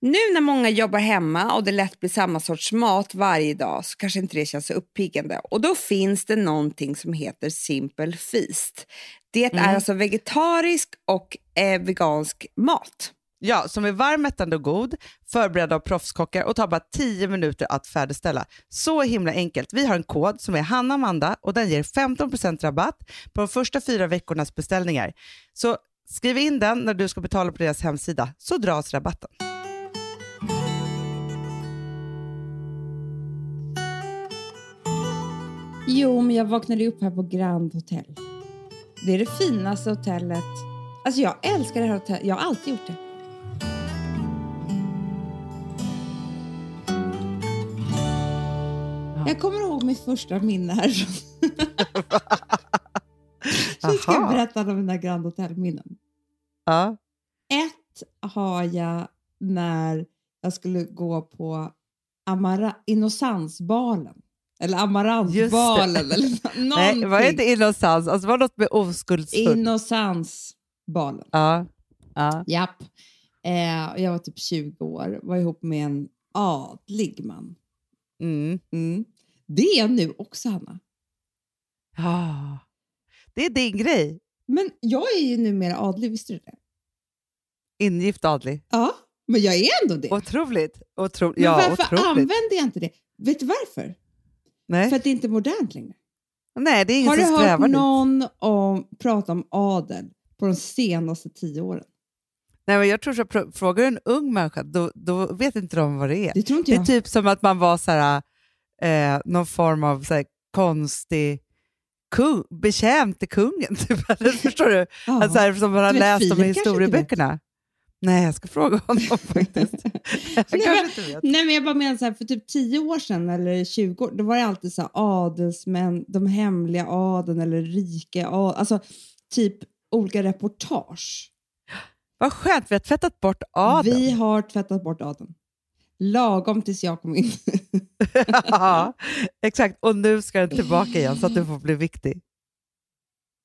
Nu när många jobbar hemma och det lätt blir samma sorts mat varje dag så kanske inte det känns så uppiggande. Och då finns det någonting som heter Simple Feast. Det är alltså vegetarisk och eh, vegansk mat. Ja, som är varm, mättande och god, förberedd av proffskockar och tar bara 10 minuter att färdigställa. Så himla enkelt. Vi har en kod som är Hanna Amanda och den ger 15% rabatt på de första fyra veckornas beställningar. Så skriv in den när du ska betala på deras hemsida så dras rabatten. Jo, men jag vaknade ju upp här på Grand Hotel. Det är det finaste hotellet. Alltså jag älskar det här hotellet. Jag har alltid gjort det. Jag kommer ihåg mitt första minne här. Så ska jag Aha. berätta om mina Grand Hotel-minnen. Ja. Ett har jag när jag skulle gå på Amara- Innocensbalen. Eller Amarantbalen. Eller nå- Nej, någonting. var det inte innocens? Alltså var det något med oskuldsfullt? Innocensbalen. ja. ja. Japp. Eh, och jag var typ 20 år var ihop med en adlig man. Mm. Mm. Det är jag nu också, Hanna. ja. Det är din grej. Men jag är ju numera adlig, visste du det? Ingift adlig. Ja, men jag är ändå det. Otroligt. Otro... Men Ja, varför otroligt. använder jag inte det? Vet du varför? Nej. För att det är inte är modernt längre. Nej, det är ingen Har du som hört strävar dit. någon om, prata om adel på de senaste tio åren? Nej, men jag tror så pr- frågar du en ung människa, då, då vet inte de vad det är. Det tror inte Det är jag. typ som att man var så här, eh, någon form av så här, konstig kung, betjänt till kungen. Typ. Eller, förstår du? Ja. Alltså, så här, som man har Du vet, läst Filip om i kanske inte vet. historieböckerna. Nej, jag ska fråga honom faktiskt. Jag Nej, kanske men- inte vet. Nej, men jag bara menar så här, för typ 10 år sedan eller 20 år, då var det alltid så här adelsmän, de hemliga adeln eller rika adeln, alltså typ olika reportage. Vad skönt, vi har tvättat bort adeln. Vi har tvättat bort adeln. Lagom tills jag kom in. ja, exakt, och nu ska den tillbaka igen så att du får bli viktig.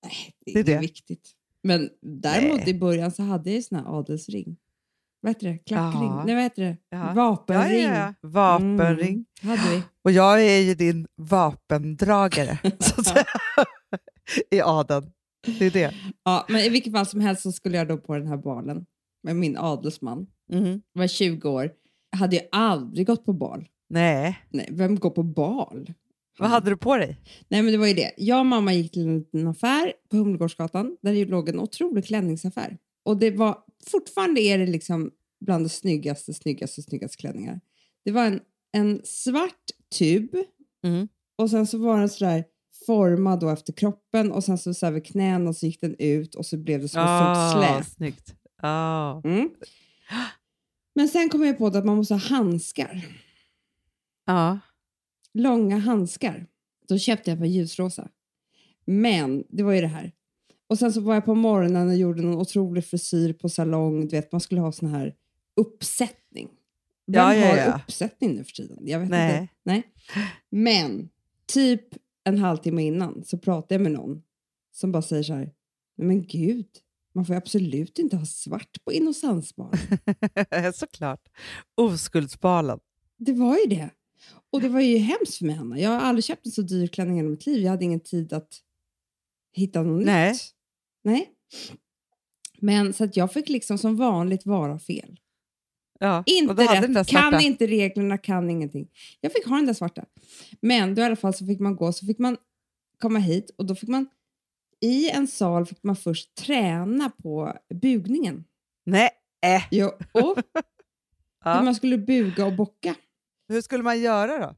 Nej, Det det är är det. inte viktigt. Men däremot Nej. i början så hade jag ju sån här adelsring. Vad heter det? Klackring? Ja. Nej, vad heter det? Ja. Ja, Vapenring. ja, ja. Vapenring. Mm, hade vi. Och jag är ju din vapendragare, så att säga, i adeln. Det är det. Ja, men i vilket fall som helst så skulle jag då på den här balen med min adelsman. Jag var 20 år. Jag hade ju aldrig gått på bal. Nej, Nej, vem går på bal? vad hade du på dig? Nej, men det var ju det. Jag och mamma gick till en liten affär på Humlegårdsgatan där det låg en otrolig klänningsaffär. Och det var fortfarande är det liksom bland de snyggaste, snyggaste, snyggaste klänningar. Det var en, en svart tub Mm. och sen så var den sådär formad då efter kroppen och sen så, så här vid knäna och så gick den ut och så blev det som ett stort Ah. släp. snyggt. Ah. Mm. Men sen kom jag på att man måste ha handskar. Ja. Långa handskar. Då köpte jag på ljusrosa. Men det var ju det här. Och sen så var jag på morgonen och gjorde någon otrolig frisyr på salong. Du vet, man skulle ha sån här uppsättning. Vem Ja, ja, har ja. uppsättning nu för tiden? Jag vet Nej. inte. Nej. Men typ en halvtimme innan så pratade jag med någon som bara säger så här. "Nej, Men gud, man får ju absolut inte ha svart på innocensbaren. Såklart. Oskuldsbalen. Det var ju det. Och det var ju hemskt för mig, Hanna. Jag har aldrig köpt en så dyr klänning i hela mitt liv. Jag hade ingen tid att hitta något Nej. nytt. Nej. Men så att jag fick liksom som vanligt vara fel. Ja. och då Inte hade den där rätt, svarta. kan inte reglerna, kan ingenting. Jag fick ha den där svarta. Men då i alla fall så fick man gå, så fick man komma hit och då fick man i en sal fick man först träna på bugningen. Nej. Äh. Jo, och hur Ja. man skulle buga och bocka. Hur skulle man göra då?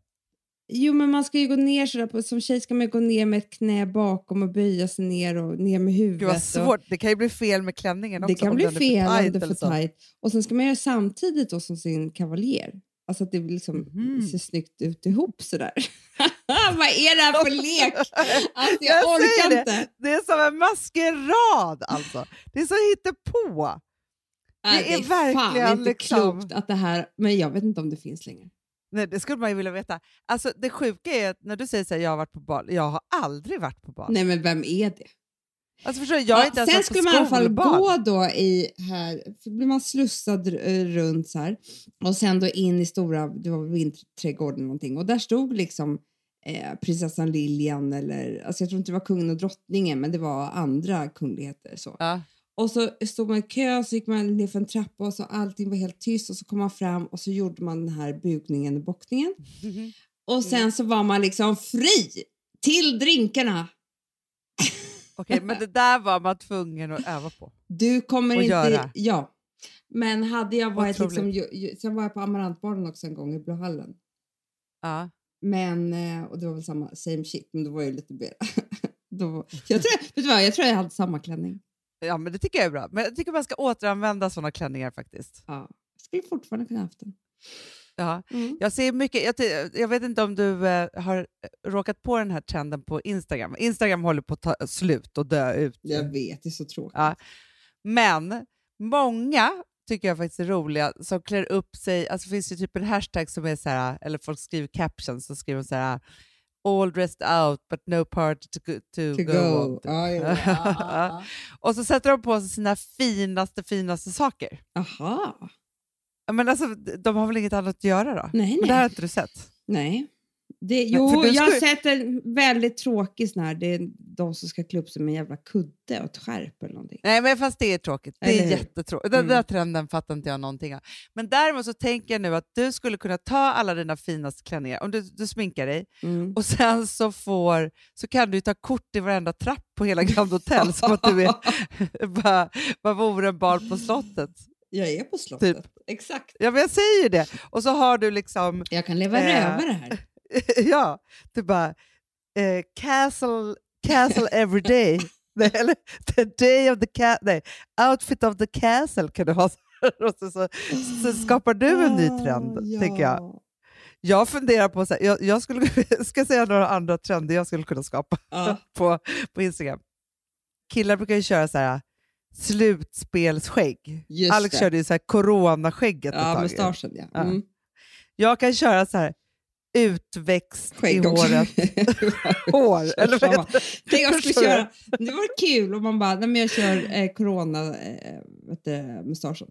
Jo, men man ska ju gå ner sådär. På, som tjej ska man ju gå ner med ett knä bakom och böja sig ner och ner med huvudet. Gud vad svårt. Det kan ju bli fel med klänningen Och, också. alltså. det kan om bli den är fel om tajt det är eller för så. tajt. Och sen ska man göra samtidigt då som sin kavaljer. Alltså att det liksom Mhm. ser snyggt ut ihop sådär. vad är det här för lek? Alltså, jag, Jag säger orkar det. inte. Det är som en maskerad alltså. Det är så hittepå. Nej, Det är verkligen fan inte liksom- klokt att det här, men jag vet inte om det finns längre. Nej, det skulle man ju vilja veta. Alltså, det sjuka är att när du säger att jag har varit på bal, jag har aldrig varit på bal. Nej, men vem är det? Alltså förstår du, jag är inte ens sen ett skulle man i alla fall skolbarn. gå då i här, så blir man slussad eh, runt så här och sen då in i stora, det var väl vinterträdgården eller någonting och där stod liksom eh, prinsessan Lilian eller, alltså jag tror inte det var kungen och drottningen men det var andra kungligheter så. Ja. Och så stod man i kö och så gick man ner för en trappa och så allting var helt tyst och så kom man fram och så gjorde man den här bugningen och bockningen. Och sen så var man liksom fri till drinkarna. Okej, men det där var man tvungen att öva på. Du kommer Och inte... göra. Ja. Men hade jag varit Otroligt. liksom... ju- ju- Sen var jag på Amarantbaren också en gång i Blåhallen. Ja. Men, eh, och det var väl samma, same shit, men då var jag ju lite mer... då, jag, tror, vet du vad, jag tror jag hade samma klänning. ja, men det tycker jag är bra. Men jag tycker man ska återanvända sådana klänningar faktiskt. Ja. Jag skulle fortfarande kunna haft den. Ja. Mm. Jag ser mycket, jag, ty- jag vet inte om du eh, har eh, råkat på den här trenden på Instagram. Instagram håller på att ta slut och dö ut. Jag vet, det är så tråkigt. Ja. Men många tycker jag faktiskt är roliga som klär upp sig. Alltså det finns ju typ en hashtag som är så här, eller folk skriver captions som skriver så här all dressed out but no party to, go- to, To go, go. on. Ja, ja, ja. ja, ja, Och så sätter de på sig sina finaste, finaste saker. ja. Aha. Ja, Men alltså, de har väl inget annat att göra då? Nej, Men det här har nej. inte du sett? nej. Det, jo, för du jag har skulle- sett en väldigt tråkig sån här. Det är de som ska klä upp sig med en jävla kudde och ett skärp eller någonting. Nej, men fast det är tråkigt. Det är Eller hur? jättetråkigt. Den Mm. där trenden fattar inte jag någonting av. Men däremot så tänker jag nu att du skulle kunna ta alla dina finaste klänningar, om du, du sminkar dig, Mm. och sen så, får, så kan du ju ta kort i varenda trapp på hela Grand Hotel som att du är bara, vad vore en barn på slottet. Jag är på slottet. Typ. Exakt. Ja, men jag säger ju det. Och så har du liksom, Jag kan leva Eh. rövare här. ja, du bara, eh, castle, castle every day. Nej, eller the day of the ca- nej, outfit of the castle kan du ha. Och så, så, så skapar du en ny trend, Ah, tänker jag. Jag funderar på, så här, jag, jag skulle, ska säga några andra trender jag skulle kunna skapa Ja. på, på Instagram. Killar brukar ju köra så här äh, slutspelsskägg. Just Alex det. körde ju så här coronaskägget ett Ja, tag. mustaschen ja. Ja. Mm. Jag kan köra så här utväxt Skägg i också. håret. Hår, eller vad Samma. heter Tänk jag skulle Förstår du? köra. Det vore kul om man bara, nej men jag kör eh, corona, eh, vet du, mustaschen.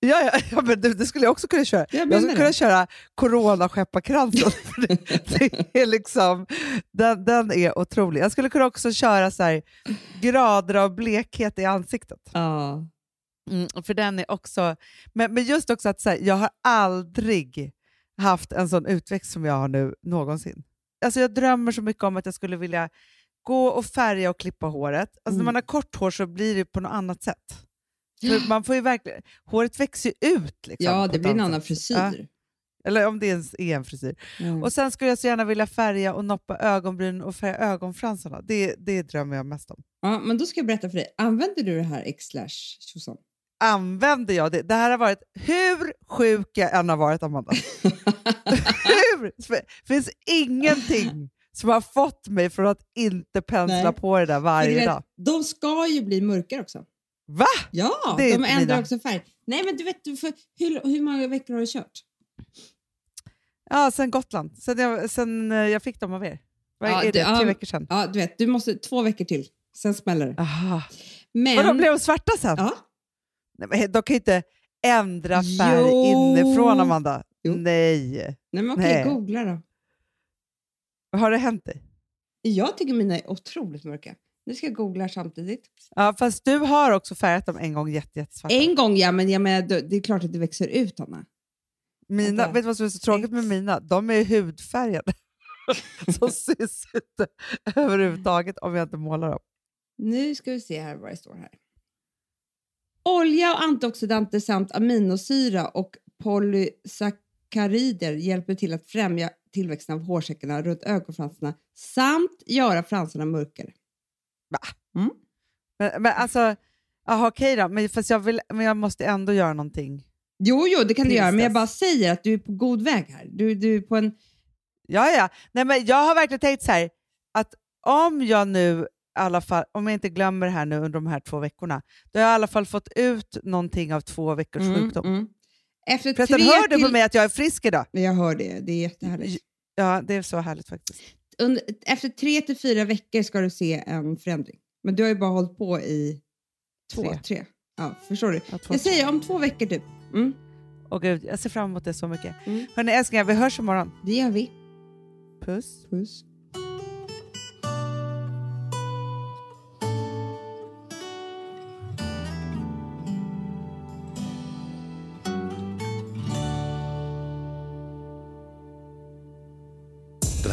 det? ja, ja, ja, men det, det skulle jag också kunna köra. Jag Jag menar skulle det. kunna köra coronaskeppakransen. för det, det är liksom, den, den är otrolig. Jag skulle kunna också köra så här, grader av blekhet i ansiktet. Ja. Mm, och för den är också... Men, men just också att så här, jag har aldrig haft en sån utväxt som jag har nu någonsin. Alltså jag drömmer så mycket om att jag skulle vilja gå och färga och klippa håret. Alltså när Mm. man har kort hår så blir det på något annat sätt. För man får ju verkligen, håret växer ju ut. Liksom, ja, på det ett blir en annat annan sätt. Ja, frisyr. eller om det ens är en frisyr. Mm. Och sen skulle jag så gärna vilja färga och noppa ögonbrynen och färga ögonfransarna. Det, det drömmer jag mest om. Ja, men då ska jag berätta för dig. Använder du det här X-slash tjosan? använder jag det. Det här har varit hur sjuk jag än har varit, Amanda. hur? Det finns ingenting som har fått mig från att inte pensla Nej. på det där För varje det- dag. De ska ju bli mörkare också. Va? Ja, Det är de inte ändrar mina. också färg. Nej, men du vet, du får, hur, hur många veckor har du kört? Ja, sen Gotland. Sen jag, sen eh, jag fick dem av er. Vad Ja, är det- det? Tre ja. veckor sedan? Ja, du vet, du måste två veckor till. Sen smäller det. Aha. Men, Och de blev svarta sen? ja, Nej, men de kan ju inte ändra färg Jo. inifrån, Amanda. Jo. Nej. nej men okej, Nej. googla då. Har det hänt dig? Jag tycker mina är otroligt mörka. Nu ska jag googla samtidigt. Ja, fast du har också färgat dem en gång jätte, jättesvarta. En gång ja, men jag menar, det det är klart att det växer ut, Anna. Mina, Vänta. vet du vad som är så tråkigt med Sex. mina? De är hudfärgade. så syns inte överhuvudtaget om jag inte målar dem. Nu ska vi se här vad det står här. Olja och antioxidanter samt aminosyra och polysackarider hjälper till att främja tillväxten av hårsäckarna runt ögonfransarna samt göra fransarna mörkare. Men, men alltså, aha, okej då, men, fast jag, vill, men jag måste ändå göra någonting. Jo, jo, det kan du Tills göra, men jag dess. bara säger att du är på god väg här. Du, du är på en... Ja, ja. Nej, men jag har verkligen tänkt så här, att om jag nu i alla fall, om jag inte glömmer det här nu under de här två veckorna, då har jag i alla fall fått ut någonting av två veckors sjukdom. mm. Efter Förresten, tre hör du till... på mig att jag är frisk idag? Men Jag hör det, det är jättehärligt. Ja, det är så härligt faktiskt. Under, efter tre till fyra veckor ska du se en förändring. Men du har ju bara hållit på i två, Tre. tre. Ja, förstår du? Ja, två, Jag tre. säger om två veckor typ. Mm, Åh gud, jag ser fram emot det så mycket. Mm. Hörni älsklingar, vi hörs imorgon. det gör vi. Puss. Puss. Den